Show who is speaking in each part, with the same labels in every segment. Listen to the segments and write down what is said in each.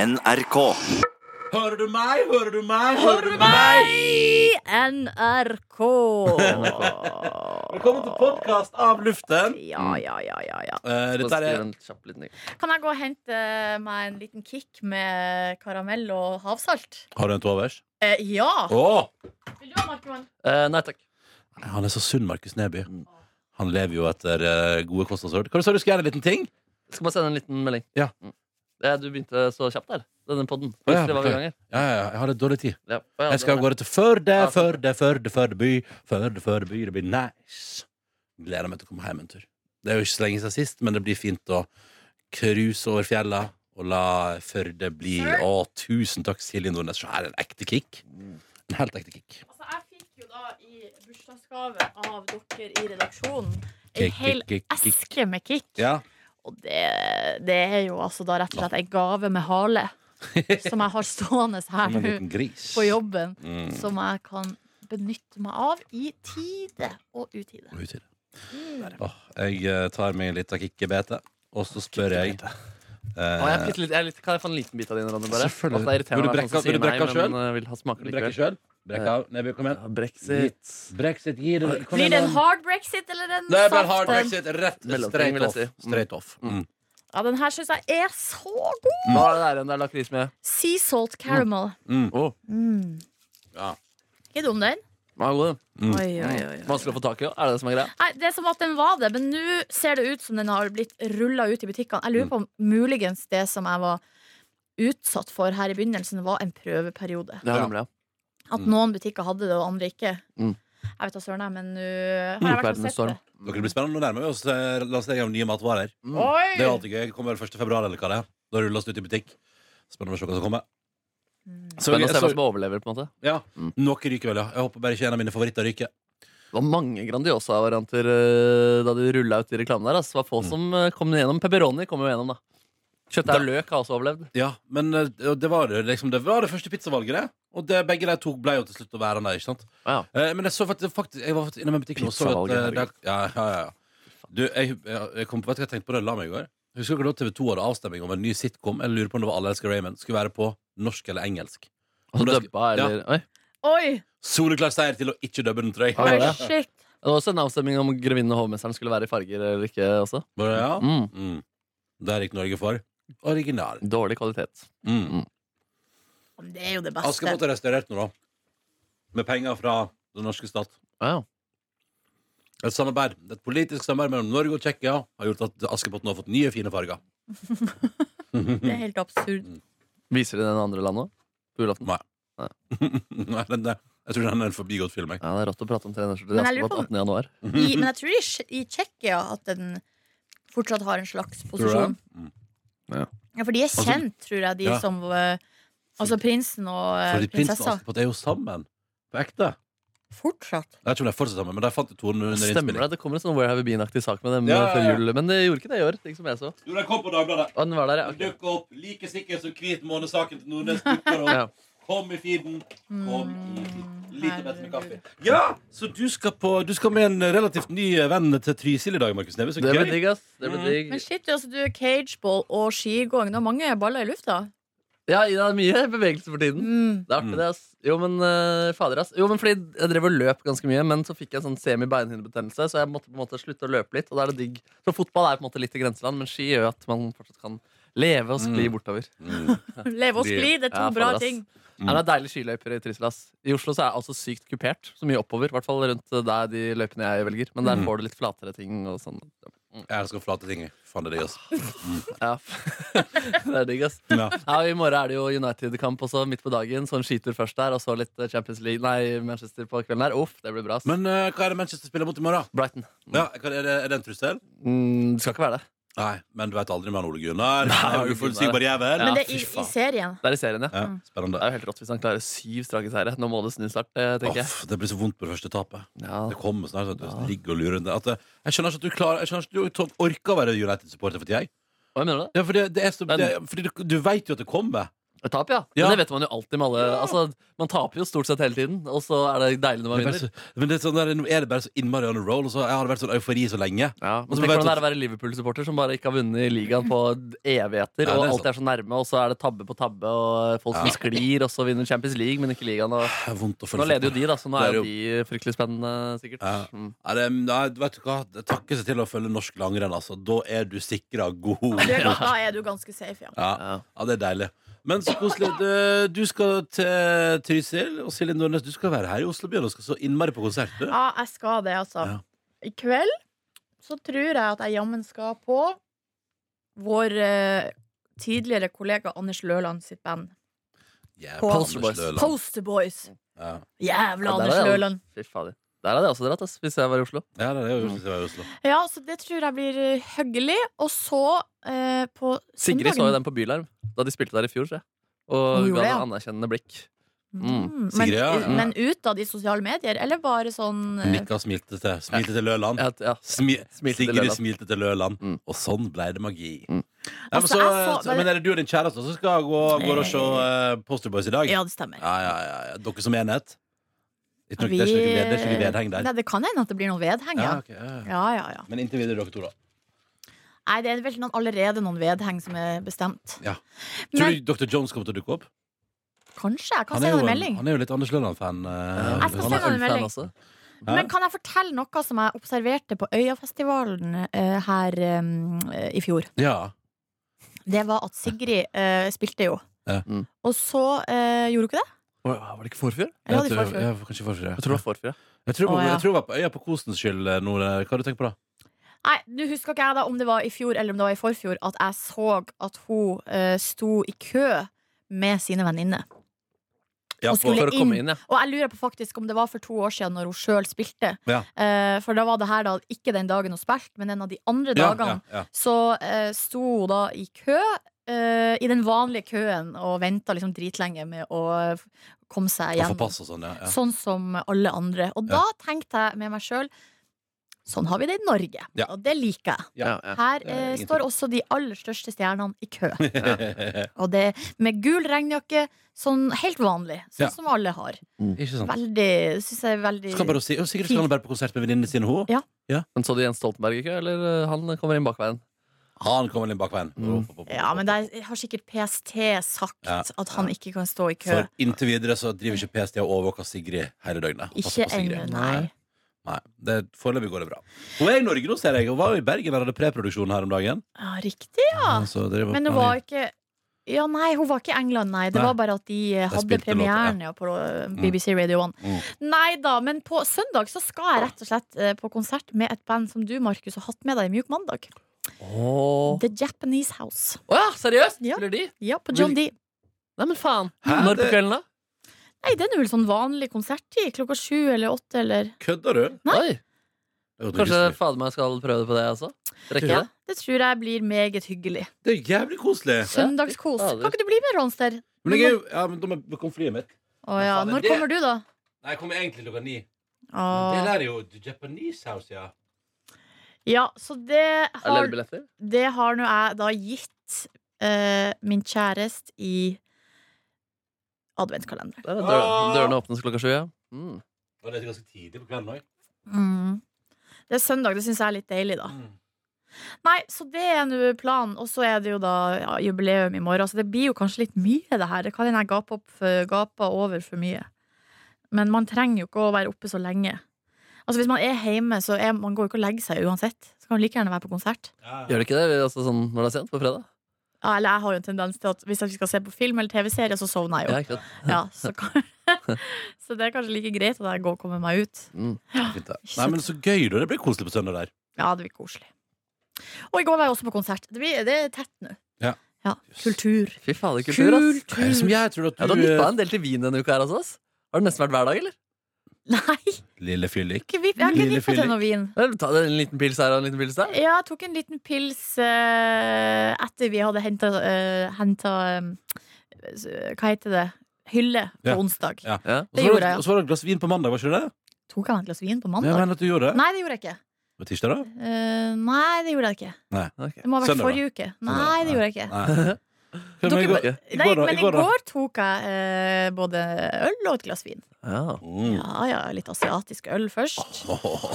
Speaker 1: NRK.
Speaker 2: Hører du meg? Hører du meg?
Speaker 3: Hører du meg? NRK.
Speaker 2: Velkommen til podkast av luften.
Speaker 3: Ja, ja, ja, ja, ja.
Speaker 2: Eh, dette
Speaker 4: Bare skrive
Speaker 2: er
Speaker 4: en kjapp liten ting.
Speaker 3: Kan jeg gå og hente eh, meg en liten kick med karamell og havsalt?
Speaker 2: Har du en til overs?
Speaker 3: Eh, ja.
Speaker 2: Åh!
Speaker 3: Vil du ha Markmann?
Speaker 4: Eh, nei takk.
Speaker 2: Han er så sunn, Markus Neby.
Speaker 4: Mm.
Speaker 2: Han lever jo etter eh, gode kostholdsråd. Hva sa du skulle gjøre en liten ting?
Speaker 4: Skal bare sende en liten melding.
Speaker 2: Ja.
Speaker 4: Mm. Eh, Du begynte så kjapt der. Denne podden.
Speaker 2: Å, ja,
Speaker 4: Plutselig var vi i gang her.
Speaker 2: Ja, ja, ja, jeg har litt dårlig tid.
Speaker 4: Ja. Å, ja,
Speaker 2: Jeg skal
Speaker 4: det-
Speaker 2: av gårde til Førde,
Speaker 4: Ja, fint.
Speaker 2: Førde, Førde, Førde by. Førde, Førde by. Det blir nice. Gleder meg til å komme hjem en tur. Det er jo ikke så lenge siden sist, men det blir fint å cruise over fjella og la Førde bli Å, tusen takk, Silje Nordnes. Så her er en ekte kick.
Speaker 4: Mm.
Speaker 2: En helt ekte kick.
Speaker 3: Altså, jeg fikk jo da i bursdagsgave av dere i redaksjonen
Speaker 2: Kick,
Speaker 3: en hel
Speaker 2: kick, kick, kick.
Speaker 3: eske med kick.
Speaker 2: Ja.
Speaker 3: Og det, det er jo altså da rett og slett ei gave med hale som jeg har stående her
Speaker 2: Som en
Speaker 3: nå
Speaker 2: liten gris.
Speaker 3: på jobben,
Speaker 2: Mm.
Speaker 3: som jeg kan benytte meg av i tide og utide.
Speaker 2: Og ut i det.
Speaker 3: Mm.
Speaker 2: Åh, jeg eh, tar meg litt av kikkebete, og så spør jeg eh,
Speaker 4: Å, jeg er bitte litt, jeg er litt, kan jeg få en liten bit av din, Ronny? Bare?
Speaker 2: Selvfølgelig.
Speaker 4: At det er irriterende
Speaker 2: Vil du
Speaker 4: å være
Speaker 2: brekke-
Speaker 4: sånn som
Speaker 2: vil du
Speaker 4: sier nei,
Speaker 2: brekke av selv?
Speaker 4: men, eh, vil ha smak
Speaker 2: Vil du brekke
Speaker 4: likevel.
Speaker 2: sjøl? Brekk av. Neby, kom igjen.
Speaker 4: Ja, Brexit.
Speaker 2: Brexit gir det kom
Speaker 3: Blir det
Speaker 2: igjen,
Speaker 3: en hard brexit eller en
Speaker 2: Det er bare
Speaker 3: soft
Speaker 2: hard
Speaker 3: en?
Speaker 2: brexit. Rett
Speaker 4: Mellomting,
Speaker 2: straight
Speaker 4: vil jeg
Speaker 2: off.
Speaker 4: si. Mm.
Speaker 2: Straight off. Mm.
Speaker 3: Ja, den her syns jeg er så god!
Speaker 4: Hva er det der igjen det er lakris med?
Speaker 3: Sea salt caramel.
Speaker 4: Å,
Speaker 3: Mm.
Speaker 2: Ja.
Speaker 3: Ikke dum, den.
Speaker 4: den er god, den.
Speaker 3: Oi, oi, oi.
Speaker 4: Vanskelig å få tak i, er det det som er greia?
Speaker 3: Nei, det er som at den var det, men nå ser det ut som den har blitt rulla ut i butikkene. Jeg lurer på om muligens det som jeg var utsatt for her i begynnelsen, var en prøveperiode.
Speaker 4: Det er
Speaker 2: Ja.
Speaker 4: nemlig, ja.
Speaker 3: At noen butikker hadde det, og andre ikke.
Speaker 4: Mm.
Speaker 3: Jeg vet da søren, jeg, men nå har jeg i hvert fall sett det.
Speaker 4: Verdenstorm.
Speaker 2: Dere blir spennende. Nå nærmer vi oss eh, lansering av nye matvarer. Mm.
Speaker 4: Mm.
Speaker 2: Det er jo
Speaker 3: Oi!
Speaker 2: alltid gøy. Det kommer vel 1. februar, eller hva det er. Da rulles det ut i butikk. Spennende å se hva som kommer. Så,
Speaker 4: Spennende å se
Speaker 2: så,
Speaker 4: hvem som overlever, på en måte.
Speaker 2: ja.
Speaker 4: Mm.
Speaker 2: Noe ryker vel, ja. Jeg håper bare ikke en av mine favoritter ryker.
Speaker 4: Det var mange Grandiosa-varianter eh, da de rulla ut i reklamen der. ass. Det var få som eh, kom gjennom. Pepperoni kom jo gjennom, da. Kjøttdeig og løk har også overlevd.
Speaker 2: Ja, men eh, det var, det liksom, det var det første pizzavalget, det. Og det, begge de to ble jo til slutt å være der. ikke sant?
Speaker 4: Ja.
Speaker 2: Eh, men jeg så faktisk, faktisk Jeg var faktisk innom en butikk nå og så at
Speaker 4: Pizzavalget,
Speaker 2: eh, der, ja, ja, ja, ja. Du, jeg, jeg, jeg kom på, vet du hva jeg tenkte på da jeg la meg i går? Husker dere da TV 2 hadde avstemning om en ny sitcom? Jeg lurer på om det var Alle elsker Raymond. Skulle være på norsk eller engelsk.
Speaker 4: Og
Speaker 2: Men Altså, det-
Speaker 4: dubba,
Speaker 2: ja.
Speaker 4: eller Oi.
Speaker 3: Oi!
Speaker 2: Soleklar seier til å ikke dubbe den, tror jeg.
Speaker 4: Ja,
Speaker 3: Oi,
Speaker 4: det var det.
Speaker 3: shit!
Speaker 4: Det var også en avstemning om grevinnen og hovmesteren skulle være i farger eller ikke. også
Speaker 2: Bare, ja.
Speaker 4: mm.
Speaker 2: Mm. Der gikk Norge for original.
Speaker 4: Dårlig kvalitet.
Speaker 2: Mm.
Speaker 3: Det er jo det beste.
Speaker 2: Askepott er restaurert nå, da. Med penger fra den norske stat.
Speaker 4: Ja.
Speaker 2: Et samarbeid, et politisk samarbeid mellom Norge og Tsjekkia har gjort at Askepotten har fått nye, fine farger.
Speaker 3: Det er helt absurd.
Speaker 4: Viser de den andre landet òg? På julaften?
Speaker 2: Nei, den der, jeg tror den er en forbigått film. Jeg.
Speaker 4: Ja, det er rått å prate om tre nesler.
Speaker 3: Men jeg lurer på om-
Speaker 4: 18. januar.
Speaker 3: I,
Speaker 2: Mhm.
Speaker 3: men jeg tror i, Tsje- i Tsjekkia at den fortsatt har en slags
Speaker 2: Tror du
Speaker 3: posisjon.
Speaker 2: det? Mm. Altså,
Speaker 3: Ja, for de er kjent, tror jeg, de
Speaker 2: Ja.
Speaker 3: som eh, Altså prinsen og eh,
Speaker 2: Fordi prinsen altså. og
Speaker 3: prinsessa.
Speaker 2: Askepott er jo sammen. På ekte.
Speaker 3: Fortsatt.
Speaker 2: Jeg tror de er fortsatt sammen, men de fant jo tonen under
Speaker 4: Stemmer
Speaker 2: innspilling.
Speaker 4: det? Det kommer en sånn Where Have You Been-aktig sak med dem
Speaker 2: Ja,
Speaker 4: eh,
Speaker 2: ja, ja.
Speaker 4: før jul. Men det gjorde ikke det i år. Ikke som jeg så.
Speaker 2: Jo, den kom på Dagbladet.
Speaker 4: Og den var der, ja. Ok.
Speaker 2: dukket opp like sikkert som hvit månesaken til Nordnes dukker
Speaker 4: Ja.
Speaker 2: Kom i feeden. Kom i
Speaker 3: Lite bett med kaffe.
Speaker 2: Ja, så du skal, på, du skal med en relativt ny eh, venn til Trysil i dag, Markus Neby. Så
Speaker 4: Det ble
Speaker 2: gøy.
Speaker 4: digg, ass. Det ble
Speaker 2: Mm.
Speaker 4: digg.
Speaker 3: Men shit, altså, du er cageball og skigåing. Det er mange baller i lufta.
Speaker 4: Ja, det er mye bevegelse for tiden. Det er
Speaker 2: Mm.
Speaker 4: artig, det, ass. Jo, men eh, fader, ass. Jo, men fordi jeg drev og løp ganske mye, men så fikk jeg sånn semi-beinhinnebetennelse, så jeg måtte på en måte slutte å løpe litt, og da er det digg. Så fotball er på en måte litt i grenseland, men ski gjør jo at man fortsatt kan leve og
Speaker 2: Mm.
Speaker 4: skli bortover.
Speaker 3: Leve og
Speaker 2: De-
Speaker 3: skli, det er to
Speaker 4: Ja,
Speaker 3: bra
Speaker 4: fader, ass.
Speaker 3: ting.
Speaker 2: Mm.
Speaker 4: Ja, det er deilige skiløyper i Trysil, ass. I Oslo så er det altså sykt kupert, så mye oppover, i hvert fall rundt eh, der de løypene jeg velger, men
Speaker 2: Mm.
Speaker 4: der får du litt flatere ting og sånn.
Speaker 2: Jeg elsker flate ting. jeg. Faen, det er digg, altså.
Speaker 4: Ja. det er digg, ass.
Speaker 2: Ja.
Speaker 4: Ja, og I morgen er det jo United-kamp også, midt på dagen. Så en skitur først der, og så litt eh, Champions League Nei, Manchester på kvelden der. Uff, det blir bra. ass.
Speaker 2: Men eh, hva er det Manchester spiller mot i morgen?
Speaker 4: Brighton.
Speaker 2: Ja, hva er, det, er det en trussel?
Speaker 4: Mm, det skal ikke være det.
Speaker 2: Nei, men du veit aldri med han Ole Gunnar.
Speaker 4: Nei,
Speaker 2: Han er
Speaker 4: Ole
Speaker 2: Uforutsigbar jævel.
Speaker 4: Ja,
Speaker 3: Men det er
Speaker 4: fy
Speaker 3: i,
Speaker 4: faen.
Speaker 3: i serien.
Speaker 4: Det er i serien, ja.
Speaker 2: Ja,
Speaker 4: Det
Speaker 2: spennende.
Speaker 4: er jo helt rått hvis han klarer syv strake seire. Nå må det snu snart, eh, tenker jeg.
Speaker 2: Off, det blir så vondt på det første tapet.
Speaker 4: Ja.
Speaker 2: Det kommer snart at du ligger og lurer. At, eh, jeg skjønner ikke at du, klarer, jeg skjønner ikke at du orker å være United-supporter for tida. jeg.
Speaker 4: Hva mener du?
Speaker 2: Ja, for det, det er så,
Speaker 4: Men-
Speaker 2: det, fordi du, du veit jo at det kommer.
Speaker 4: det? Med tap, ja.
Speaker 2: Ja.
Speaker 4: Men det vet man jo alltid med alle. Altså, man taper jo stort sett hele tiden, og så er det deilig når man
Speaker 2: Det er, bare
Speaker 4: vinner.
Speaker 2: så, men det er, sånn der, nå er det bare så innmari on a roll, og så jeg har det vært sånn eufori så lenge.
Speaker 4: Ja,
Speaker 2: Og
Speaker 4: men
Speaker 2: så
Speaker 4: Tenk
Speaker 2: vet
Speaker 4: hvordan
Speaker 2: du-
Speaker 4: det er å være Liverpool-supporter som bare ikke har vunnet i ligaen på evigheter.
Speaker 2: Ja, det
Speaker 4: og
Speaker 2: er
Speaker 4: alt er så nærme, og så er det tabbe på tabbe, og folk som
Speaker 2: Ja.
Speaker 4: sklir, og så vinner Champions League, men ikke ligaen. Og...
Speaker 2: Det er vondt å føle
Speaker 4: Nå leder jo de, da, så nå
Speaker 2: Det er
Speaker 4: er jo de fryktelig spennende, sikkert.
Speaker 2: Ja.
Speaker 4: Mm.
Speaker 2: Ja, det, nei, du vet hva, det takker seg til å følge norsk langrenn, altså. Da er du sikra god.
Speaker 3: Du er, da er du ganske safe, ja.
Speaker 2: Ja,
Speaker 4: Ja.
Speaker 2: ja, det er deilig. Men så koselig. Eh, Du, du skal til Trysil, og Silje Nordnes, du skal være her i Oslobyen og skal så innmari på konsert. Du.
Speaker 3: Ja, jeg skal det, altså.
Speaker 2: Ja.
Speaker 3: I kveld så tror jeg at jeg jammen skal på vår eh, tidligere kollega Anders Løland sitt band.
Speaker 2: Yeah,
Speaker 3: På-
Speaker 2: Anders
Speaker 4: Poster Boys.
Speaker 2: Løland.
Speaker 3: Poster Boys.
Speaker 2: Ja.
Speaker 3: Jævla
Speaker 4: Ja, der
Speaker 3: Anders
Speaker 4: er det-
Speaker 3: Løland.
Speaker 4: Fy fader. Der hadde jeg også dratt, ass, hvis jeg var i Oslo.
Speaker 2: ja, det er det jeg har gjort siden jeg var i Oslo.
Speaker 3: Ja, så det tror jeg blir eh, hyggelig. Og så eh, på
Speaker 4: Sigrid så jo
Speaker 3: søndagen-
Speaker 4: den på Bylarm da de spilte der i fjor. tror jeg. Og
Speaker 3: Hun gjorde
Speaker 4: ga
Speaker 3: det, ja.
Speaker 4: en anerkjennende blikk.
Speaker 3: Mm. Men,
Speaker 2: Sigrid, ja, ja.
Speaker 3: men ut av de sosiale medier, eller bare sånn eh,
Speaker 2: Nikka og smilte til, smilte til Løland.
Speaker 4: Ja, ja.
Speaker 2: Smi
Speaker 4: Smilte til
Speaker 2: Sigrid
Speaker 4: Løland.
Speaker 2: smilte til Løland,
Speaker 4: Mm.
Speaker 2: og sånn ble det magi. Ja, men,
Speaker 4: Mm.
Speaker 3: Altså,
Speaker 2: så,
Speaker 3: jeg så-
Speaker 2: så, men er det du og din kjæreste som skal gå, gå og se eh, Poster Boys i dag?
Speaker 3: Ja, det stemmer.
Speaker 2: Ja, ja, ja, ja. Dere som enhet? Ikke noe, det er ikke noe ved- det er ikke noe vedheng der?
Speaker 3: Nei, det kan hende at det blir noe vedheng, ja.
Speaker 2: Ja, ok, ja, ja.
Speaker 3: ja, ja, ja.
Speaker 2: Men inntil videre, dere to, da.
Speaker 3: Nei, det er vel noen, allerede noen vedheng som er bestemt.
Speaker 2: Ja. Tror
Speaker 3: Men
Speaker 2: du Dr. Jones kommer til å dukke opp?
Speaker 3: kanskje. Jeg kan
Speaker 2: er
Speaker 3: sende
Speaker 2: jo,
Speaker 3: en
Speaker 2: en-
Speaker 3: melding.
Speaker 2: han er jo litt Anders Lønland-fan. eh,
Speaker 3: Jeg skal
Speaker 2: han
Speaker 3: se
Speaker 2: er-
Speaker 3: sende han en
Speaker 4: ølfan
Speaker 3: melding.
Speaker 4: også.
Speaker 2: Hæ?
Speaker 3: Men kan jeg fortelle noe som jeg observerte på Øyafestivalen eh, her eh, i fjor?
Speaker 2: Ja.
Speaker 3: Det var at Sigrid eh, spilte jo.
Speaker 2: Ja.
Speaker 4: Mm.
Speaker 3: Og så eh, gjorde hun ikke det?
Speaker 4: Var det ikke forfjor?
Speaker 3: Eller
Speaker 2: Jeg
Speaker 3: var det i
Speaker 2: tror-
Speaker 3: forfjor?
Speaker 2: ja, kanskje i forfjor, ja.
Speaker 4: Jeg tror det var forfjor, ja.
Speaker 2: Jeg tror
Speaker 3: Å, ja.
Speaker 2: jeg tror det var på Øya på kosens skyld, eh, Nore. Hva har du tenkt på da?
Speaker 3: Nei, nå husker ikke jeg da om det var i fjor eller om det var i forfjor at jeg så at hun eh, sto i kø med sine venninner.
Speaker 2: Ja,
Speaker 3: Og skulle
Speaker 4: For å
Speaker 3: inn.
Speaker 4: komme inn, ja.
Speaker 3: Og jeg lurer på faktisk om det var for to år siden når hun sjøl spilte.
Speaker 2: Ja.
Speaker 3: Eh, for da var det her da ikke den dagen hun spilte, men en av de andre
Speaker 2: ja,
Speaker 3: dagene.
Speaker 2: ja, ja.
Speaker 3: Så eh, sto hun da i kø, eh, i den vanlige køen, og venta liksom dritlenge med å eh, komme seg
Speaker 2: Og få
Speaker 3: hjem.
Speaker 2: pass og sånn, ja. ja.
Speaker 3: Sånn som alle andre. Og da tenkte jeg med meg sjøl sånn har vi det i Norge,
Speaker 2: Ja.
Speaker 3: og det liker jeg.
Speaker 4: Ja, ja.
Speaker 3: Her
Speaker 2: det er
Speaker 3: eh,
Speaker 2: ingen
Speaker 3: står også de aller største stjernene i kø.
Speaker 2: Ja.
Speaker 3: Og det med gul regnjakke, sånn helt vanlig, sånn
Speaker 2: Ja.
Speaker 3: som alle har.
Speaker 2: Ikke sant?
Speaker 3: Veldig, synes jeg er veldig
Speaker 2: Skal bare si, og sikkert skal han bare på konsert med venninnene sine. hun.
Speaker 3: Ja.
Speaker 4: Men så du Jens Stoltenberg ikke, eller eh, han kommer inn bakveien?
Speaker 2: Han kommer inn bak veien.
Speaker 4: Mm.
Speaker 3: Ja, men der har sikkert PST sagt
Speaker 2: Ja.
Speaker 3: at han ikke kan stå i kø.
Speaker 2: For inntil videre så driver ikke PST og overvåker Sigrid hele døgnet. Og passer
Speaker 3: Ikke
Speaker 2: på Sigrid.
Speaker 3: ennå, nei.
Speaker 2: Nei, det, Foreløpig går det bra. Hun er i Norge nå, ser jeg. Hun var jo i Bergen der hadde preproduksjon her om dagen.
Speaker 3: Ja, riktig, ja.
Speaker 2: Så driver-
Speaker 3: Men hun var ikke ja, nei, hun var ikke i England, nei. Det
Speaker 2: Nei.
Speaker 3: var bare at de eh, hadde
Speaker 2: spilte låter,
Speaker 3: premieren ja, på eh, BBC Radio 1.
Speaker 2: Mm.
Speaker 3: Nei da, men på søndag så skal jeg rett og slett eh, på konsert med et band som du, Markus, har hatt med deg i Mjuk mandag.
Speaker 4: Åh.
Speaker 3: The Japanese House.
Speaker 4: Å ja, seriøst?
Speaker 3: Ja.
Speaker 4: Spiller de?
Speaker 3: Ja, på John D.
Speaker 4: Nei, men faen.
Speaker 2: Hæ,
Speaker 4: Når på
Speaker 2: det-
Speaker 4: kvelden, da?
Speaker 3: Nei, det er vel sånn vanlig konserttid. Klokka sju eller åtte eller
Speaker 2: Kødder du?
Speaker 3: Nei.
Speaker 4: Oi.
Speaker 2: Det er jo
Speaker 4: Kanskje
Speaker 2: nydelig.
Speaker 4: fader meg skal prøve på det, altså? Rekker
Speaker 3: Ja,
Speaker 4: det?
Speaker 3: det tror jeg blir meget hyggelig.
Speaker 2: Det er jævlig koselig.
Speaker 3: Søndagskos.
Speaker 4: Ja, det-
Speaker 3: Kan ikke du bli med, Ronster?
Speaker 2: Men jeg er jo Ja, men da må jeg komme flyet mitt.
Speaker 3: Å ja.
Speaker 2: Men faen,
Speaker 3: Når
Speaker 2: det-
Speaker 3: kommer du, da?
Speaker 2: Nei, jeg kommer egentlig klokka ni. Det
Speaker 3: Å.
Speaker 2: der er jo The Japanese House, ja.
Speaker 3: Ja, så det
Speaker 4: Er det
Speaker 3: har,
Speaker 4: billetter?
Speaker 3: det har nå jeg da gitt eh, min kjæreste i adventskalenderen.
Speaker 4: Der er døra- Dørene åpnes klokka sju, ja. Mm.
Speaker 2: Og det er ganske tidlig på kvelden òg.
Speaker 3: Mm. Det er søndag, det syns jeg er litt deilig, da.
Speaker 2: Mm.
Speaker 3: Nei, så det er nå planen. Og så er det jo da ja, jubileum i morgen, så det blir jo kanskje litt mye, det her. Det kan hende jeg gaper opp for- gaper over for mye. Men man trenger jo ikke å være oppe så lenge. Altså Hvis man er hjemme, så er, man går jo ikke og legger seg uansett. Så kan man like gjerne være på konsert.
Speaker 2: Ja.
Speaker 4: Gjør det ikke det? Altså, sånn, når det er sent på fredag?
Speaker 3: Ja, Eller jeg har jo en tendens til at hvis jeg skal se på film eller TV-serie, så sovner jeg jo.
Speaker 4: Ja, ikke sant?
Speaker 3: Ja, så, kan- så det er kanskje like greit at jeg går og kommer meg ut.
Speaker 4: Mm.
Speaker 2: Fint,
Speaker 3: Ah,
Speaker 2: det. Nei, men så gøy, da. Det blir koselig på søndag der.
Speaker 3: Ja, det blir koselig. Og i går var jeg også på konsert. Det, blir, det er tett nå.
Speaker 2: Ja.
Speaker 3: Kultur.
Speaker 4: Fy fader, kultur, ass.
Speaker 2: Hva er det som jeg tror at
Speaker 4: Ja, du
Speaker 2: du
Speaker 4: har nippa en del til vin denne uka her også, ass. Har det nesten vært hver dag, eller?
Speaker 3: Nei!
Speaker 2: Lille fyllik.
Speaker 3: ikke vipp. Jeg har ikke
Speaker 2: Lille
Speaker 3: vippet
Speaker 2: Philip.
Speaker 3: til noe vin.
Speaker 4: Eller, Ta deg en liten pils her og en liten pils der.
Speaker 3: Ja, jeg tok en liten pils eh, etter vi hadde henta eh, Hva heter det? Hylle på
Speaker 2: Ja.
Speaker 3: onsdag.
Speaker 2: Ja.
Speaker 4: Ja.
Speaker 2: Og så
Speaker 3: Det
Speaker 2: var
Speaker 3: gjorde jeg, ja.
Speaker 2: Og så var det et glass vin på mandag, var ikke det?
Speaker 3: Tok jeg et glass vin på
Speaker 2: Jeg
Speaker 3: mandag?
Speaker 2: mener at du gjorde det.
Speaker 3: Nei, det gjorde jeg ikke.
Speaker 2: På tirsdag, da?
Speaker 3: Eh, nei, det gjorde jeg ikke.
Speaker 4: Ok.
Speaker 3: Det må ha vært
Speaker 2: Søndag, da?
Speaker 3: forrige uke. Nei, det gjorde jeg ikke.
Speaker 2: Nei. Hva med i går-
Speaker 4: Dere-
Speaker 2: i
Speaker 3: Nei,
Speaker 2: går da? I
Speaker 3: men i
Speaker 2: går da?
Speaker 3: går tok jeg eh, både øl og et glass vin.
Speaker 4: Ja.
Speaker 2: Mm.
Speaker 3: Ja, ja, litt asiatisk øl først.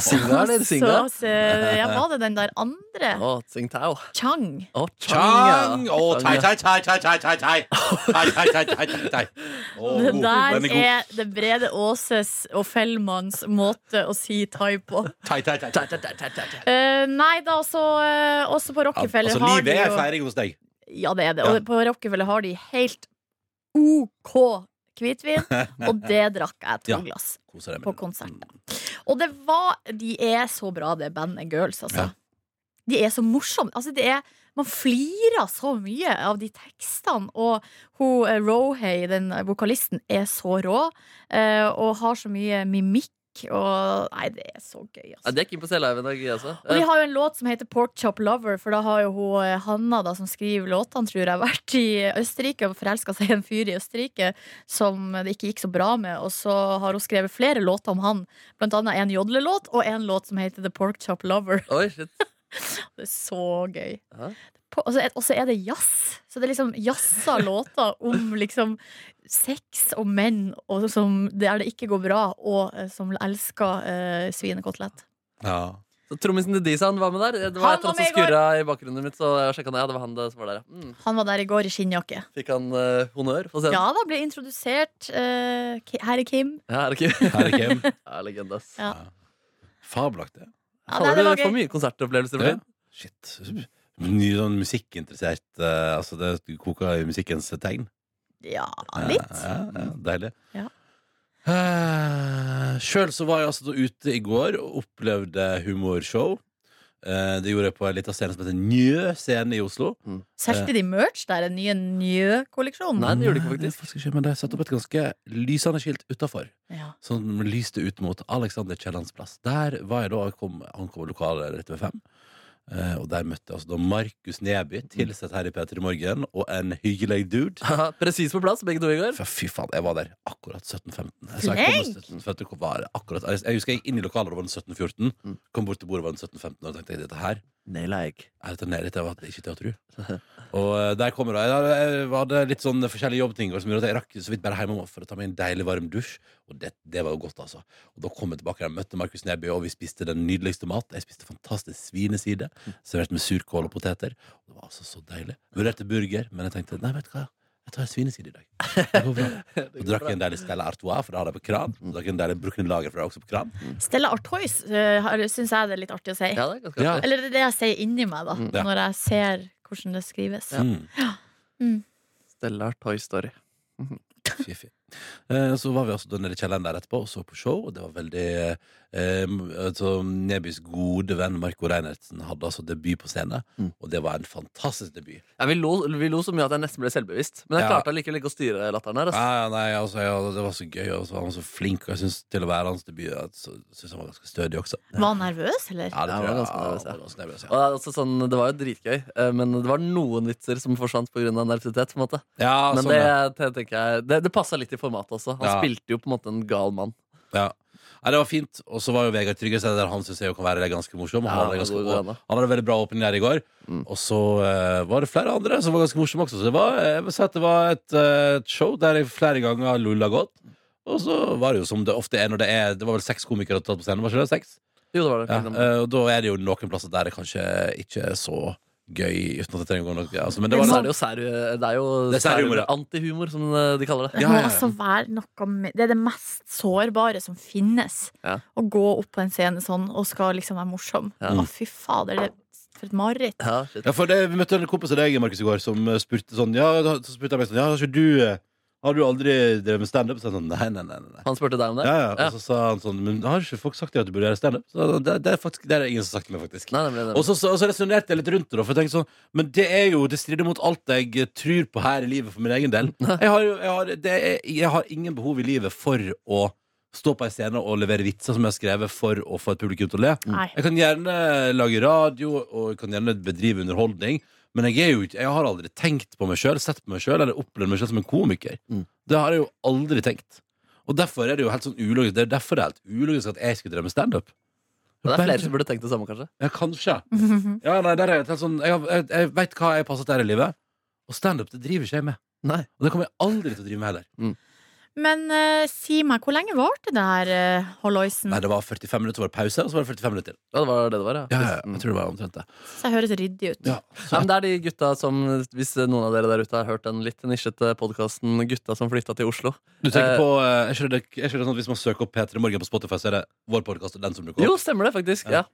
Speaker 4: Singa, eller singa?
Speaker 3: Så, så, ja, var det den der andre?
Speaker 4: Å, tsingtao.
Speaker 3: Chang.
Speaker 4: Å,
Speaker 2: Chang!
Speaker 4: ja.
Speaker 2: Å, tai,
Speaker 4: Chang, ja.
Speaker 2: tai, tai, tai, tai, tai, tai. Tai, tai, tai, tai, tai, tai. Å,
Speaker 3: Det
Speaker 2: god.
Speaker 3: der
Speaker 2: Den er god.
Speaker 3: er det Brede Aases og Fellmanns måte å si thai på.
Speaker 2: Tai, tai, tai, tai.
Speaker 4: Tai, tai, tai, tai, tai.
Speaker 3: Eh, nei da, så eh, også på
Speaker 2: Ja,
Speaker 3: Rockefeller
Speaker 2: altså,
Speaker 3: har
Speaker 2: livet
Speaker 3: de
Speaker 2: er
Speaker 3: jo
Speaker 2: feiring hos deg.
Speaker 3: Ja, det er det.
Speaker 2: Ja.
Speaker 3: Og på Rockefeller har de helt OK hvitvin, og det drakk jeg to
Speaker 2: Ja.
Speaker 3: glass.
Speaker 2: Koser deg med
Speaker 3: På
Speaker 2: det.
Speaker 3: konsert.
Speaker 2: Mm.
Speaker 3: Og det var De er så bra, det bandet Girls, altså.
Speaker 2: Ja.
Speaker 3: De er så morsomme. Altså, det er man flirer så mye av de tekstene, og hun eh, Rohei, den vokalisten, er så rå, eh, og har så mye mimikk, og Nei, det er så gøy, altså.
Speaker 4: Ja, det er keen på å se live en dag, jeg også.
Speaker 3: Og vi har jo en låt som heter Pork Chop Lover, for da har jo hun eh, Hanna, da, som skriver låtene, tror jeg, vært i Østerrike og forelska seg i en fyr i Østerrike som det ikke gikk så bra med, og så har hun skrevet flere låter om han, blant annet en jodlelåt og en låt som heter The Pork Chop Lover.
Speaker 4: Oi, shit.
Speaker 3: Det er så gøy.
Speaker 4: Ja.
Speaker 3: På- Og så er- og så er det jazz. Så det er liksom jazza låter om liksom sex og menn og som, der det ikke går bra, og eh, som elsker eh, svinekotelett.
Speaker 2: Ja.
Speaker 4: Så Trommisen til Dizan var med der.
Speaker 3: Han
Speaker 4: Det var et eller
Speaker 3: var
Speaker 4: annet som
Speaker 3: med i går.
Speaker 4: skurra i bakgrunnen mitt, så jeg sjekket ned. Ja, det var han det som var der, ja. Mm.
Speaker 3: Han var der i går i skinnjakke.
Speaker 4: Fikk han eh, honnør på scenen?
Speaker 3: Ja da, ble introdusert eh, Ki- Herre Kim.
Speaker 4: Ja, er det ikke?
Speaker 2: Her er Kim.
Speaker 4: Ja, legende, ass.
Speaker 3: Ja.
Speaker 2: Fabelaktig.
Speaker 3: Ja,
Speaker 4: Fader,
Speaker 3: nei, det var
Speaker 4: du får
Speaker 3: gøy.
Speaker 4: mye konsertopplevelser.
Speaker 2: Ja.
Speaker 4: Ja.
Speaker 2: Shit. Ny sånn musikkinteressert eh, Altså, det koker i musikkens tegn.
Speaker 3: Ja, litt.
Speaker 2: Ja, ja, deilig.
Speaker 3: Ja.
Speaker 2: Eh, Sjøl så var jeg altså da ute i går og opplevde humorshow. Eh, det gjorde jeg på en liten scene som heter Njø scene i Oslo.
Speaker 3: Solgte de merch der? Den nye Njø-kolleksjonen?
Speaker 4: Nei, det gjorde de ikke,
Speaker 2: Nei,
Speaker 4: faktisk.
Speaker 2: faktisk ikke, men de satte opp et ganske lysende skilt utafor.
Speaker 3: Ja.
Speaker 2: Som lyste ut mot Alexander Kiellands plass. Der var jeg da jeg kom, ankom lokalet rett ved fem. Eh, og der møtte jeg altså da Markus Neby, tilsett her i P3 Morgen, og en hyggelig dude.
Speaker 4: Haha, Presis på plass, begge to i går.
Speaker 2: For fy faen, jeg var der akkurat 17.15. Jeg sa jeg kom med 17.40, hvor var det akkurat Jeg jeg husker jeg gikk inn i lokalet, det var den 17.14.
Speaker 4: Mm.
Speaker 2: Kom bort til bordet, var den 17.15, og tenkte jeg, dette her
Speaker 4: Naila egg.
Speaker 2: er dette nede, dette var ikke til å tro. Og eh, der kommer det. Jeg, jeg, jeg hadde litt sånn forskjellige jobbting som gjorde at jeg rakk så vidt bare hjem for å ta meg en deilig, varm dusj. Og det, det var jo godt, altså. Og da kom jeg tilbake og møtte Markus Neby, og vi spiste den nydeligste mat. Jeg spiste fantastisk svineside, servert med surkål og poteter. Og det var altså så deilig. Vurderte burger, men jeg tenkte nei, vet du hva, jeg tar en svineside i dag. Det går bra. Og drakk en deilig Stella Artois, for det hadde jeg på kran. Og drakk en deilig Brooklyn Lager, for det hadde jeg også på kran.
Speaker 3: Stella Artois syns jeg det er litt artig å si.
Speaker 4: Ja, det er ganske
Speaker 2: Ja.
Speaker 4: artig.
Speaker 3: Eller det er det jeg sier inni meg, da,
Speaker 4: Mm.
Speaker 2: Ja.
Speaker 3: når jeg ser hvordan det skrives.
Speaker 2: Mm.
Speaker 4: Stella Toy Story.
Speaker 2: Fifi. Eh, Så var vi altså da nede i kjelleren der etterpå og så på show, og det var veldig eh, m- altså, Nebys gode venn Marco Reinertsen hadde altså debut på scene,
Speaker 4: Mm.
Speaker 2: og det var en fantastisk debut.
Speaker 4: Ja, vi, lo, vi lo så mye at jeg nesten ble selvbevisst. Men jeg
Speaker 2: Ja.
Speaker 4: klarte allikevel ikke å styre latteren her. ass.
Speaker 2: Ja, ja, nei, altså, ja, det var så gøy, og så var han så flink, og jeg synes til å være hans debut Jeg synes han var ganske stødig også.
Speaker 3: Var han nervøs, eller?
Speaker 2: Ja, det tror
Speaker 4: Ja, han
Speaker 2: jeg. Ja,
Speaker 4: var ganske nervøs, ja.
Speaker 2: han var ganske nervøs,
Speaker 4: Og det, er også sånn, det var jo dritgøy, eh, men det var noen vitser som forsvant pga. nervøsitet. på en måte.
Speaker 2: Ja, ja
Speaker 4: Men
Speaker 2: sånn,
Speaker 4: det,
Speaker 2: ja.
Speaker 4: det tenker jeg Det, det passa litt i formatet også. Han
Speaker 2: Ja.
Speaker 4: spilte jo på en måte en gal mann.
Speaker 2: Ja. Nei, det var fint. Og så var jo Vegard Trygge der han syns jeg jo kan være ganske morsom.
Speaker 4: Ja,
Speaker 2: Han hadde,
Speaker 4: han
Speaker 2: ganske,
Speaker 4: er god, han, da.
Speaker 2: han hadde veldig bra åpning der i går.
Speaker 4: Mm.
Speaker 2: Og så eh, var det flere andre som var ganske morsomme også. Så det var, eh, jeg vil si at det var et, eh, et show der jeg flere ganger lulla godt. Og så var det jo som det ofte er når det er Det var vel seks komikere tatt på scenen? Var ikke det seks?
Speaker 4: Jo, det var det.
Speaker 2: Ja, eh, og da er det jo noen plasser der det kanskje ikke er så gøy, uten at jeg trenger å gå noe altså, Men det var
Speaker 4: Men så er det jo sær, det er jo
Speaker 2: Det er særhumor, ja.
Speaker 4: antihumor, som de kaller det.
Speaker 3: Det
Speaker 2: Ja,
Speaker 3: må
Speaker 2: ja, ja.
Speaker 3: altså være noe med Det er det mest sårbare som finnes.
Speaker 4: Ja.
Speaker 3: Å gå opp på en scene sånn og skal liksom være morsom.
Speaker 4: Ja.
Speaker 3: Å, fy fader, det er for et mareritt.
Speaker 4: Ja, shit.
Speaker 2: Ja, for det, Vi møtte en kompis av deg Markus, i går som eh, spurte sånn Ja, da- så spurte jeg meg sånn Ja, har ikke du eh, Har du aldri drevet med standup? Så jeg sånn, nei, nei, nei, nei, nei.
Speaker 4: Han spurte deg om det?
Speaker 2: Ja, ja. Og så sa han sånn Men har ikke folk sagt til deg at du burde gjøre standup? Så Det, det, er faktisk- det er det ingen som har sagt til meg, faktisk.
Speaker 4: Nei, nemlig,
Speaker 2: Og
Speaker 4: nemlig.
Speaker 2: så, så, så resonnerte jeg litt rundt det, da, for jeg tenkte sånn Men det er jo Det strider mot alt jeg eh, tror på her i livet for min egen del. Jeg har, jo- jeg har, det er, jeg har ingen behov i livet for å stå på ei scene og levere vitser som jeg har skrevet for å få et publikum til å le.
Speaker 3: Nei.
Speaker 2: Jeg kan gjerne lage radio og jeg kan gjerne bedrive underholdning, men jeg, er jo, ikke- jeg har aldri tenkt på meg sjøl, sett på meg sjøl eller opplevd meg sjøl som en komiker.
Speaker 4: Mm.
Speaker 2: Det har jeg jo aldri tenkt. Og derfor er det jo helt sånn ulogisk Det er derfor det er helt ulogisk at jeg skulle drive med standup.
Speaker 4: Det er flere som burde tenkt det samme, kanskje.
Speaker 2: Ja, kanskje. Ja, nei, der er jeg, helt sånn, jeg, har- jeg, jeg veit hva jeg passer til her i livet, Og standup det driver ikke jeg med.
Speaker 4: Nei.
Speaker 2: Og det kommer jeg aldri til å drive med heller.
Speaker 3: Men eh, si meg, hvor lenge varte det her uh, halloisen?
Speaker 4: Mm.
Speaker 2: Nei, Det var 45 minutter var det pause, og så var det 45 minutter til.
Speaker 4: Ja, det var det det var, ja.
Speaker 2: Ja, ja, ja, jeg tror det var omtrent det.
Speaker 3: Så jeg høres ryddig ut.
Speaker 2: Ja.
Speaker 4: Nei, men det er de gutta som, Hvis noen av dere der ute har hørt den litt nisjete podkasten Gutta som flytta til Oslo
Speaker 2: Du tenker
Speaker 4: Eh,
Speaker 2: på, eh, er ikke det, er ikke det sånn at Hvis man søker opp P3 Morgen på Spotify, så er det vår podkast og den som dukker
Speaker 4: Jo,
Speaker 2: opp?
Speaker 4: stemmer det, faktisk.
Speaker 2: Ja.
Speaker 4: Ja.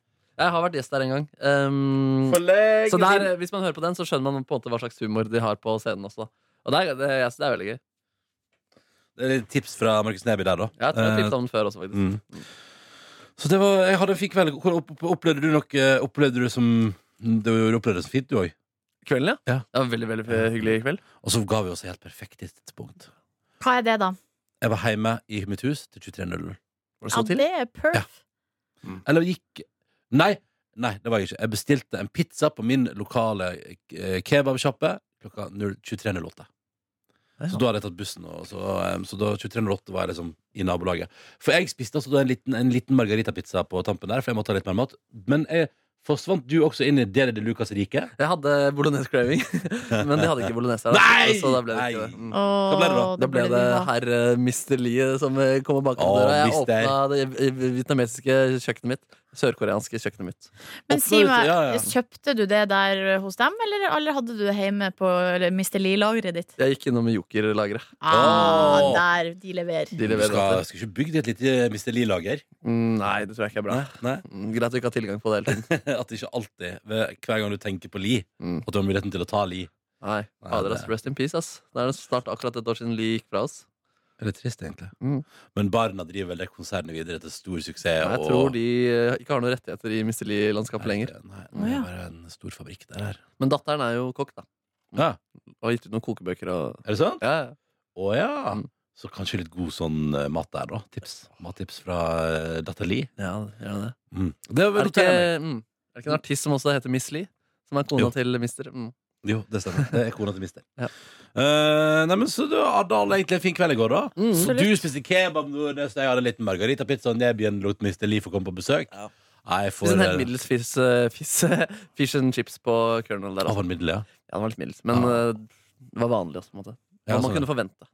Speaker 4: Jeg har vært gjest der en gang. Um, så der, hvis man hører på den, så skjønner man på en måte hva slags humor de har på scenen også. da. Og det er, det, jeg synes det er veldig gøy.
Speaker 2: Det er litt tips fra Markus Neby der, da.
Speaker 4: Jeg tror jeg har
Speaker 2: Eh,
Speaker 4: tipset om den før også, faktisk.
Speaker 2: Mm. Så det var, jeg hadde en fin kveld. Hvor opp- opp- Opplevde du noe Opplevde du det som Du opplevde det som fint, du òg?
Speaker 4: Kvelden, ja.
Speaker 2: Ja.
Speaker 4: Det var veldig, veldig hyggelig kveld.
Speaker 2: Og så ga vi oss et helt perfekt tidspunkt.
Speaker 3: Hva er det, da?
Speaker 2: Jeg var hjemme i mitt hus til 23.00.
Speaker 4: Var det
Speaker 3: Ja,
Speaker 4: så til?
Speaker 3: det er perf.
Speaker 2: Ja. Eller gikk Nei, nei, det var jeg ikke. Jeg bestilte en pizza på min lokale eh, kebabsjappe klokka 0- 23.08. Så da hadde jeg tatt bussen, og så, eh, så da 23.08 var jeg liksom i nabolaget. For jeg spiste altså da en liten, en liten margaritapizza på tampen der, for jeg måtte ha litt mer mat. Men jeg, forsvant du også inn i Deli de Lucas' rike?
Speaker 4: Jeg hadde bolognese craving, men de hadde ikke bolognese her.
Speaker 2: Nei!
Speaker 4: Så da ble det
Speaker 2: Nei.
Speaker 4: ikke det. Mm.
Speaker 3: Hva
Speaker 2: ble det da?
Speaker 4: Da ble det herr eh, Mr. Lee som eh, kommer bak
Speaker 2: Å,
Speaker 4: døra. Jeg
Speaker 2: mister.
Speaker 4: åpna det eh, vietnamesiske kjøkkenet mitt. Sørkoreanske kjøkkenet mitt.
Speaker 3: Men
Speaker 2: Oppnå
Speaker 3: si
Speaker 2: ut-
Speaker 3: meg,
Speaker 2: ja, ja.
Speaker 3: kjøpte du det der hos dem, eller, eller hadde du det hjemme på eller Mr. Lee-lageret ditt?
Speaker 4: Jeg gikk innom Joker-lageret.
Speaker 3: Ah,
Speaker 2: Åh.
Speaker 3: Der de leverer.
Speaker 4: De
Speaker 2: Du
Speaker 4: leverer
Speaker 2: skal,
Speaker 4: alltid.
Speaker 2: skal ikke bygge ditt lite Mr. Lee-lager?
Speaker 4: Mm, nei, det tror jeg ikke er bra.
Speaker 2: Nei?
Speaker 4: Mm, Greit at vi ikke har tilgang på det hele tiden.
Speaker 2: At det ikke alltid, ved, hver gang du tenker på Lee,
Speaker 4: Mm.
Speaker 2: at du har muligheten til å ta Lee.
Speaker 4: Nei,
Speaker 2: Nei,
Speaker 4: Fader, ass,
Speaker 2: det-
Speaker 4: Rest in peace, ass. Det er snart akkurat et år siden Lee gikk fra oss.
Speaker 2: Det er litt trist, egentlig.
Speaker 4: Mm.
Speaker 2: Men barna driver vel det konsernet videre til stor suksess.
Speaker 4: Jeg
Speaker 2: og-
Speaker 4: tror de eh, ikke har noen rettigheter i Mr. Lee-landskapet lenger.
Speaker 2: Nei,
Speaker 3: Å,
Speaker 2: det
Speaker 3: ja.
Speaker 2: er bare en stor fabrikk der her.
Speaker 4: Men datteren er jo kokk, da.
Speaker 2: Ja,
Speaker 4: Og har gitt ut noen kokebøker og
Speaker 2: er det sant?
Speaker 4: ja, ja.
Speaker 2: Å ja.
Speaker 4: Mm.
Speaker 2: Så kanskje litt god sånn eh, mat der, da. Tips. Mattips fra eh, datter Lee.
Speaker 4: ja, gjør det.
Speaker 2: Mm. Det
Speaker 4: Er
Speaker 2: var
Speaker 4: det, ikke, mm, er det ikke en artist som også heter Miss Lee? Som er kona
Speaker 2: Jo.
Speaker 4: til Mister? Mm.
Speaker 2: Jo, det stemmer. Det er kona til mister.
Speaker 4: Ja.
Speaker 2: Eh, nei, men så du hadde alle egentlig en fin kveld i går, da.
Speaker 4: Mm.
Speaker 2: Så
Speaker 3: Absolutt.
Speaker 2: du spiste kebab, Nordnes, og jeg hadde en liten margaritapizza, og Nebyen lot mister Lee få komme på besøk.
Speaker 4: Ja.
Speaker 2: Nei, for
Speaker 4: Hvis en helt middels fish, eh, fish, fish and chips på Colonel
Speaker 2: Ah,
Speaker 4: der, altså.
Speaker 2: for en middel, ja.
Speaker 4: Ja, den var litt middels, men
Speaker 2: Ja.
Speaker 4: eh, det var vanlig også, på en måte. Hva
Speaker 2: Ja,
Speaker 4: man
Speaker 2: sånn,
Speaker 4: kunne forvente.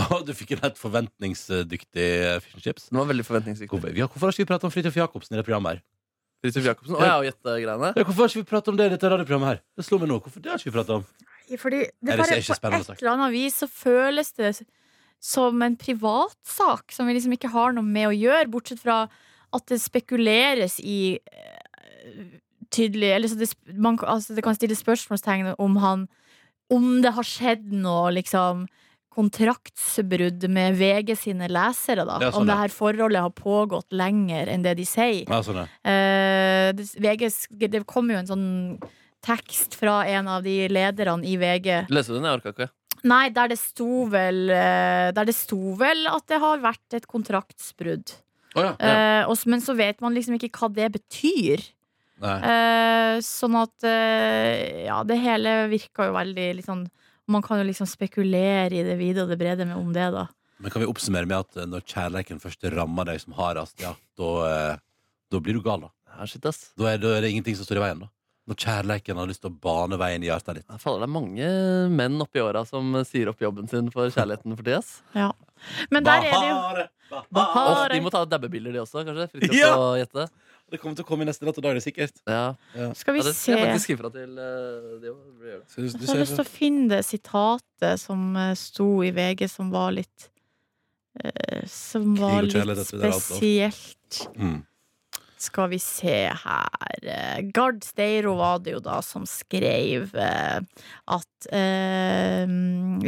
Speaker 2: ja. Du fikk en helt forventningsdyktig eh, fish and chips.
Speaker 4: Den var veldig forventningsrik.
Speaker 2: Hvorfor, ja, hvorfor har ikke vi pratet om Fridtjof Jacobsen i det programmet her?
Speaker 4: Fridtjof Jacobsen. Å ja, og gjettegreiene.
Speaker 2: Ja, Hvorfor har ikke vi pratet om det i dette radioprogrammet her? Det slår meg nå. Hvorfor det har ikke vi pratet om?
Speaker 3: Fordi det
Speaker 2: Er det
Speaker 3: bare,
Speaker 2: ikke- er ikke
Speaker 3: på
Speaker 2: spennende
Speaker 3: et
Speaker 2: sak?
Speaker 3: eller annet vis så føles det som en privatsak som vi liksom ikke har noe med å gjøre, bortsett fra at det spekuleres i eh, tydelig eller så det, sp- man, kan- altså det kan stille spørsmålstegn om han Om det har skjedd noe liksom kontraktsbrudd med VG sine lesere, da.
Speaker 2: Ja, sånn,
Speaker 3: om det
Speaker 2: ja.
Speaker 3: her forholdet har pågått lenger enn det de sier.
Speaker 2: Ja, sånn, ja.
Speaker 3: Eh, det, VG, sk- det kom jo en sånn tekst fra en av de lederne i VG.
Speaker 4: Leste du den? Jeg orka ikke.
Speaker 3: Nei, der det sto vel eh, Der det sto vel at det har vært et kontraktsbrudd.
Speaker 2: Å ja.
Speaker 3: Eh, og s- men så vet man liksom ikke hva det betyr.
Speaker 2: Nei.
Speaker 3: Eh, sånn at eh, Ja, det hele virka jo veldig litt sånn Man kan jo liksom spekulere i det vide og det brede med om det, da.
Speaker 2: Men kan vi oppsummere med at eh, når kjærleiken først rammer deg som hardest, ja, da, eh, da blir du gal, da.
Speaker 4: Ja, Ah, shit, ass.
Speaker 2: Da er, da er det ingenting som står i veien, da. Når kjærleiken har lyst til å bane veien i hjertet ditt.
Speaker 4: Ja, Fader, det er mange menn oppi åra som eh, sier opp jobben sin for kjærligheten for tida. ass.
Speaker 3: Men der er det jo
Speaker 2: Bahare,
Speaker 3: Bahare.
Speaker 4: Og
Speaker 3: Ah,
Speaker 4: de
Speaker 3: det-
Speaker 4: må ta dabbebilder, de også, kanskje? Fritjof
Speaker 2: Ja!
Speaker 4: og Jette.
Speaker 2: Det kommer til å komme i neste natt og dag, det er sikkert.
Speaker 4: Ja.
Speaker 3: Skal
Speaker 4: ja,
Speaker 3: vi
Speaker 4: det
Speaker 3: se
Speaker 4: skal jeg faktisk
Speaker 3: Jeg
Speaker 4: skrive fra til eh, de også. Vi gjør det.
Speaker 2: Så du, du
Speaker 3: har
Speaker 2: ser
Speaker 3: lyst til å finne det sitatet som eh, sto i VG, som var litt eh, Som var
Speaker 2: og kjærlighet,
Speaker 3: litt
Speaker 2: dette der, altså.
Speaker 3: spesielt.
Speaker 2: mm.
Speaker 3: Skal vi se her eh, Gard Steiro var det jo da som skrev eh, at eh,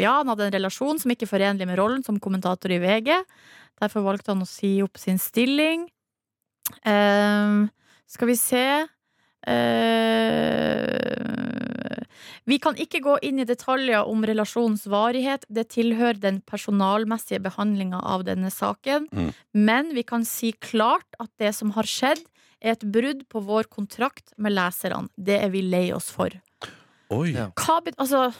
Speaker 3: Ja, han hadde en relasjon som ikke er forenlig med rollen som kommentator i VG. Derfor valgte han å si opp sin stilling. Eh, skal vi se eh, Vi kan ikke gå inn i detaljer om relasjonens varighet. Det tilhører den personalmessige behandlinga av denne saken. Men vi kan si klart at det som har skjedd, er et brudd på vår kontrakt med leserne. Det er vi lei oss for.
Speaker 2: Oi.
Speaker 4: Ja.
Speaker 3: Hva bet... Altså,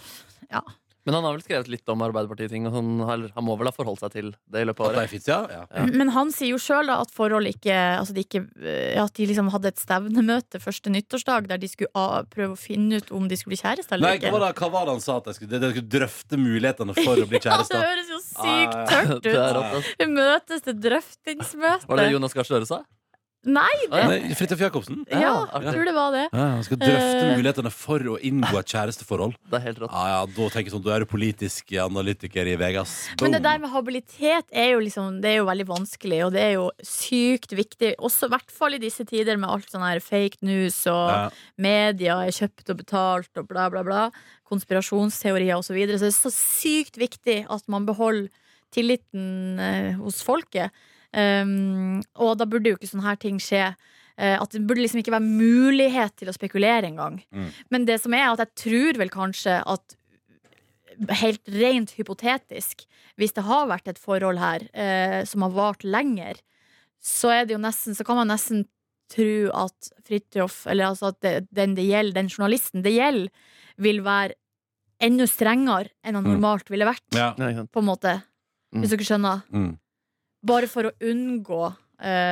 Speaker 3: ja.
Speaker 4: Men han har vel skrevet litt om Arbeiderpartiet-ting, og han, har, han må vel ha forholdt seg til det i løpet av
Speaker 2: At de
Speaker 4: året.
Speaker 2: fins, ja? ja.
Speaker 4: Ja.
Speaker 3: Men han sier jo sjøl at forholdet ikke altså de ikke, ja, At de liksom hadde et stevnemøte første nyttårsdag der de skulle ah, prøve å finne ut om de skulle bli
Speaker 2: Nei,
Speaker 3: kjærester eller
Speaker 2: hva,
Speaker 3: ikke.
Speaker 2: var det, hva var det han sa at de skulle, de skulle drøfte mulighetene for å bli
Speaker 3: Ja, det
Speaker 2: kjærester?
Speaker 3: høres jo sykt
Speaker 2: Ah,
Speaker 3: tørt
Speaker 4: Det er
Speaker 3: ut!
Speaker 4: rått, ass.
Speaker 3: Vi møtes til drøftingsmøte.
Speaker 4: Var det Jonas Gahr Støre sa?
Speaker 3: Nei,
Speaker 4: Å, ja.
Speaker 2: Nei, Fridtjof Jacobsen?
Speaker 3: ja,
Speaker 4: Ja,
Speaker 3: jeg tror det var det.
Speaker 2: Ja, han skal drøfte
Speaker 3: Eh.
Speaker 2: mulighetene for å inngå et kjæresteforhold.
Speaker 4: Det er helt rått.
Speaker 2: Ja, ja, Da tenker jeg sånn, da er du politisk analytiker i Vegas.
Speaker 3: Men det der med habilitet er jo, liksom, det er jo veldig vanskelig, og det er jo sykt viktig. Også i hvert fall i disse tider med alt sånn her fake news og
Speaker 2: Ja.
Speaker 3: media er kjøpt og betalt og bla, bla, bla. Konspirasjonsteorier osv. Så, videre. så det er så sykt viktig at man beholder tilliten eh, hos folket. Um, og da burde jo ikke sånne her ting skje. Eh, at det burde liksom ikke være mulighet til å spekulere engang.
Speaker 2: Mm.
Speaker 3: Men det som er at jeg tror vel kanskje at Helt rent hypotetisk, hvis det har vært et forhold her eh, som har vart lenger, så er det jo nesten Så kan man nesten tro at Fridtjof, eller altså at det, den det gjelder, den journalisten det gjelder, vil være enda strengere enn han
Speaker 2: Mm.
Speaker 3: normalt ville vært,
Speaker 2: Ja.
Speaker 4: Ja, ikke sant?
Speaker 3: på en måte.
Speaker 4: Mm.
Speaker 3: Hvis dere skjønner.
Speaker 2: Mm.
Speaker 3: Bare for å unngå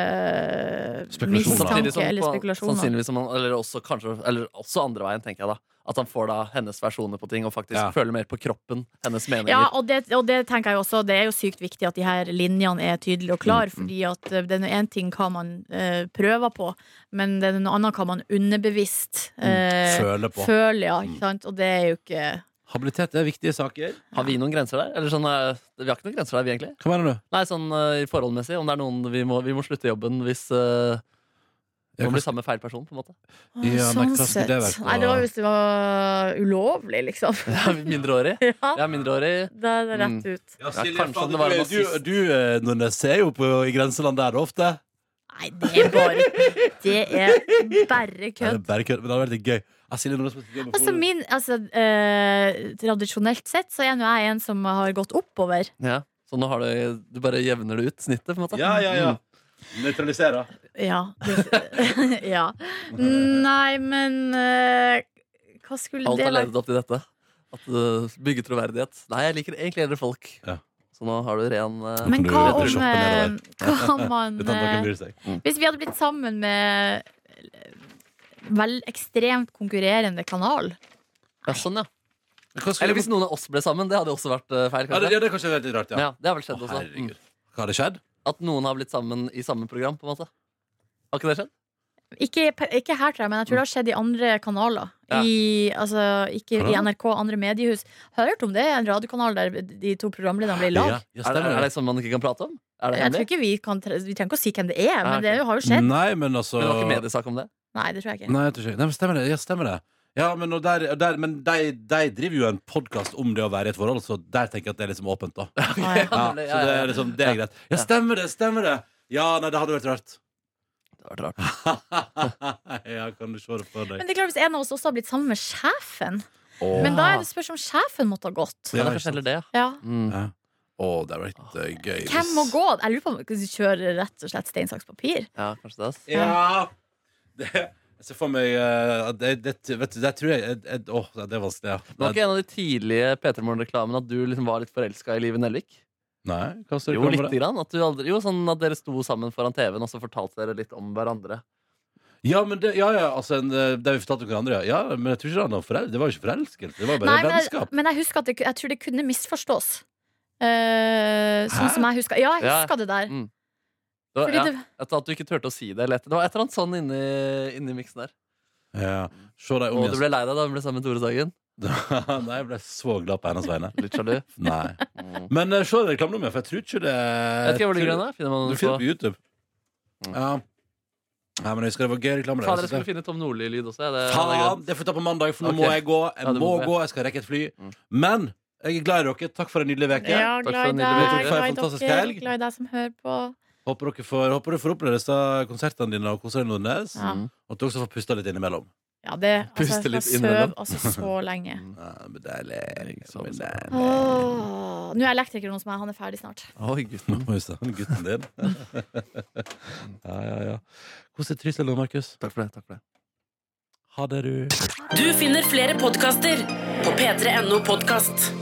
Speaker 3: eh,
Speaker 2: Spekulasjoner.
Speaker 4: Samtidig
Speaker 3: mistanke
Speaker 4: som
Speaker 3: eller
Speaker 4: på-
Speaker 3: spekulasjoner.
Speaker 4: Sannsynligvis som han, eller også, kanskje, eller også andre veien, tenker jeg da. At han får da hennes versjoner på ting, og faktisk
Speaker 2: Ja.
Speaker 4: føler mer på kroppen hennes meninger.
Speaker 3: Ja, og det, og det tenker jeg jo også. Det er jo sykt viktig at de her linjene er tydelige og klare. Fordi at eh, det er én ting hva man eh, prøver på, men det er noe annet hva man underbevisst eh,
Speaker 2: Føler på.
Speaker 3: føler. Ja, ikke sant? Og det er jo ikke
Speaker 2: Habilitet er viktige saker.
Speaker 4: Har vi noen grenser der? Eller sånn, eh, vi har ikke noen grenser der, vi egentlig.
Speaker 2: Hva mener du?
Speaker 4: Nei, sånn eh, i forholdmessig. Om det er noen vi må, vi må slutte jobben hvis
Speaker 2: Ja,
Speaker 4: eh, man
Speaker 2: kanskje-
Speaker 4: blir sammen med feil person, på en måte.
Speaker 3: Å, sånn
Speaker 2: Ja, men hva skulle det vært på-
Speaker 3: Nei, det var hvis det var ulovlig, liksom.
Speaker 4: Ja, Mindreårig.
Speaker 3: ja,
Speaker 4: Ja, mindreårig.
Speaker 3: da er det rett ut.
Speaker 2: Ja,
Speaker 4: Silje,
Speaker 2: kanskje
Speaker 4: faen,
Speaker 2: det
Speaker 4: du-
Speaker 2: var en
Speaker 4: du-
Speaker 2: nazist. du, eh, Nordnes, er jo på, i grenseland der ofte.
Speaker 3: Nei, det er bare Det er bare
Speaker 2: Er det
Speaker 3: kødd.
Speaker 2: bare kødd? Men det hadde vært litt gøy. Ja, Silje Nordnes måtte jobbe
Speaker 3: Altså,
Speaker 2: for-
Speaker 3: min, altså eh, Tradisjonelt sett så er nå jeg en som har gått oppover.
Speaker 4: Ja. Så nå har du, du bare jevner det ut, snittet, på en måte.
Speaker 2: Ja, ja, ja. Mm. Nøytralisere.
Speaker 3: Ja. det- ja. Nei, men eh, hva
Speaker 4: Mm.
Speaker 3: skulle
Speaker 4: Alt
Speaker 3: det
Speaker 4: har ledet
Speaker 3: vært?
Speaker 4: opp til dette. At uh, Bygge troverdighet. Nei, jeg liker egentlig eldre folk.
Speaker 2: Ja.
Speaker 4: Så nå har du ren eh,
Speaker 3: Men
Speaker 2: Du
Speaker 3: hva
Speaker 2: retter
Speaker 3: om,
Speaker 2: shoppen
Speaker 3: eh,
Speaker 2: nedover.
Speaker 3: hva om man
Speaker 2: Uten at noen
Speaker 3: eh,
Speaker 2: bryr seg.
Speaker 3: Hvis vi hadde blitt sammen med eh, vel ekstremt konkurrerende kanal
Speaker 4: ja, Sånn, ja.
Speaker 2: Hva skulle-
Speaker 4: Eller hvis noen av oss ble sammen. Det hadde også vært eh, feil.
Speaker 2: ja, det,
Speaker 4: kanskje
Speaker 2: ja, det er kanskje litt rart, ja.
Speaker 4: ja, Det har vel
Speaker 2: Å,
Speaker 4: skjedd også. Mm.
Speaker 2: herregud. Hva hadde skjedd?
Speaker 4: At noen har blitt sammen i samme program. på en måte Har ikke det skjedd?
Speaker 3: Ikke, ikke her, tror jeg, men jeg tror det har skjedd i andre kanaler.
Speaker 4: Ja.
Speaker 3: I, altså, ikke i
Speaker 2: Kanaler?
Speaker 3: NRK, andre mediehus. Hørt om det? En radiokanal der de to programlederne blir i
Speaker 2: Ja,
Speaker 3: lag.
Speaker 2: ja,
Speaker 4: Er det,
Speaker 2: stemmer
Speaker 4: er
Speaker 2: det.
Speaker 4: det sånn man ikke kan prate om? Er det
Speaker 3: Jeg tror
Speaker 4: hemmelig?
Speaker 3: ikke Vi kan tre- Vi trenger ikke å si hvem det er, men
Speaker 4: Ah, ok.
Speaker 3: det er jo- har jo skjedd.
Speaker 2: Nei, men altså
Speaker 4: Men det var ikke mediesak om det?
Speaker 3: Nei, det tror jeg ikke.
Speaker 2: Nei, jeg tror ikke. Nei, men stemmer det. Ja, stemmer det. Ja, men, og der, og der, men de, de driver jo en podkast om det å være i et forhold, så der tenker jeg at det er liksom åpent, da. Ja,
Speaker 3: Ah, ja.
Speaker 2: så det er liksom, det er greit. Ja, stemmer det, stemmer det! Ja, nei, det hadde vært rart.
Speaker 4: Det var rart.
Speaker 2: ja, kan du se det for deg?
Speaker 3: Men det er klart hvis en av oss også har blitt sammen med sjefen.
Speaker 2: Åh.
Speaker 3: Men da er det spørs om sjefen måtte ha gått.
Speaker 2: Ja,
Speaker 4: Ja, det er
Speaker 2: ikke
Speaker 4: kanskje
Speaker 2: sant.
Speaker 4: heller det, ja.
Speaker 3: Ja.
Speaker 4: Mm.
Speaker 2: Ja. Å, det hadde vært eh, gøy. hvis-
Speaker 3: Hvem må gå? Jeg lurer på om vi kjører rett og slett stein, saks, papir.
Speaker 4: ja, kanskje det. ass.
Speaker 2: Ja! Det, jeg ser for meg eh, at det, det, vet du, det tror jeg eh, eh, Åh, det er vanskelig, ja.
Speaker 4: Det var ikke en av de tidlige P3 Morgen-reklamene at du liksom var litt forelska i Live Nelvik?
Speaker 2: Nei, hva står det
Speaker 4: Jo,
Speaker 2: for
Speaker 4: lite
Speaker 2: det?
Speaker 4: grann. At, du aldri, jo, sånn at dere sto sammen foran TV-en, og så fortalte dere litt om hverandre.
Speaker 2: Ja, men det, ja, ja, altså, en, eh, det har vi fortalt noen andre, ja. ja men jeg tror ikke han var forel det var jo ikke forelskelse. Det var bare
Speaker 3: Nei, men, jeg,
Speaker 2: vennskap.
Speaker 3: men jeg husker at det, ku- jeg tror det kunne misforstås. Eh, sånn
Speaker 2: Hæ?
Speaker 3: som jeg husker. Ja, jeg
Speaker 4: Ja.
Speaker 3: husker det der.
Speaker 4: Mm. Det var,
Speaker 3: Fordi
Speaker 4: ja,
Speaker 3: det-
Speaker 4: at, at du ikke turte å si det. Eller et, det var et eller annet sånn inni, inni miksen der.
Speaker 2: Ja. Se deg om
Speaker 4: Og du
Speaker 2: igjen.
Speaker 4: ble lei deg da hun ble sammen med Tore Sagen.
Speaker 2: Nei, jeg ble så glad på hennes vegne.
Speaker 4: Litt sjalu.
Speaker 2: Nei.
Speaker 4: Mm.
Speaker 2: Men uh, se deg reklamen om igjen, for jeg tror ikke det
Speaker 4: Jeg vet ikke hvor det grønne er. Finner man
Speaker 2: Du
Speaker 4: den
Speaker 2: finner det
Speaker 4: på
Speaker 2: på YouTube.
Speaker 4: Mm.
Speaker 2: Ja. Nei, men jeg husker det var gøy reklame. der.
Speaker 4: Fader,
Speaker 2: Jeg
Speaker 4: jeg skulle
Speaker 2: synes det-
Speaker 4: finne Tom Nordli-lyd også. Ja, det,
Speaker 2: Faen, det får vi ta på mandag, for nå
Speaker 4: Ok.
Speaker 2: må jeg gå. Jeg
Speaker 4: Ja, du
Speaker 2: må
Speaker 4: må det.
Speaker 2: gå, jeg skal rekke et fly.
Speaker 4: Mm.
Speaker 2: Men jeg er glad i dere. Takk for en nydelig uke.
Speaker 3: Ja,
Speaker 4: Takk for
Speaker 3: glad i
Speaker 4: en
Speaker 3: deg,
Speaker 4: nydelig uke.
Speaker 3: glad i
Speaker 2: Fantastisk
Speaker 3: dere,
Speaker 2: helg.
Speaker 3: glad i deg som hører på.
Speaker 2: Håper, dere får, håper du får oppleve disse konsertene dine og konserne Nordnes.
Speaker 3: Ja,
Speaker 4: Mm.
Speaker 2: Og at du også får pusta litt innimellom.
Speaker 3: ja det altså,
Speaker 4: Puste
Speaker 3: Jeg
Speaker 4: litt
Speaker 3: sover
Speaker 4: innimellom.
Speaker 3: altså så lenge.
Speaker 2: Ja, men deilig.
Speaker 4: Sover,
Speaker 2: Men
Speaker 4: sover.
Speaker 2: deilig.
Speaker 3: Åh, nå er elektrikeren hos meg, han er ferdig snart.
Speaker 4: Oi, gutten.
Speaker 2: Må huske han gutten din. ja, ja, ja. Hvordan er Trysil nå, Markus?
Speaker 4: Takk for det. takk for det
Speaker 2: Ha det, du.
Speaker 1: Du finner flere podkaster på p3.no podkast.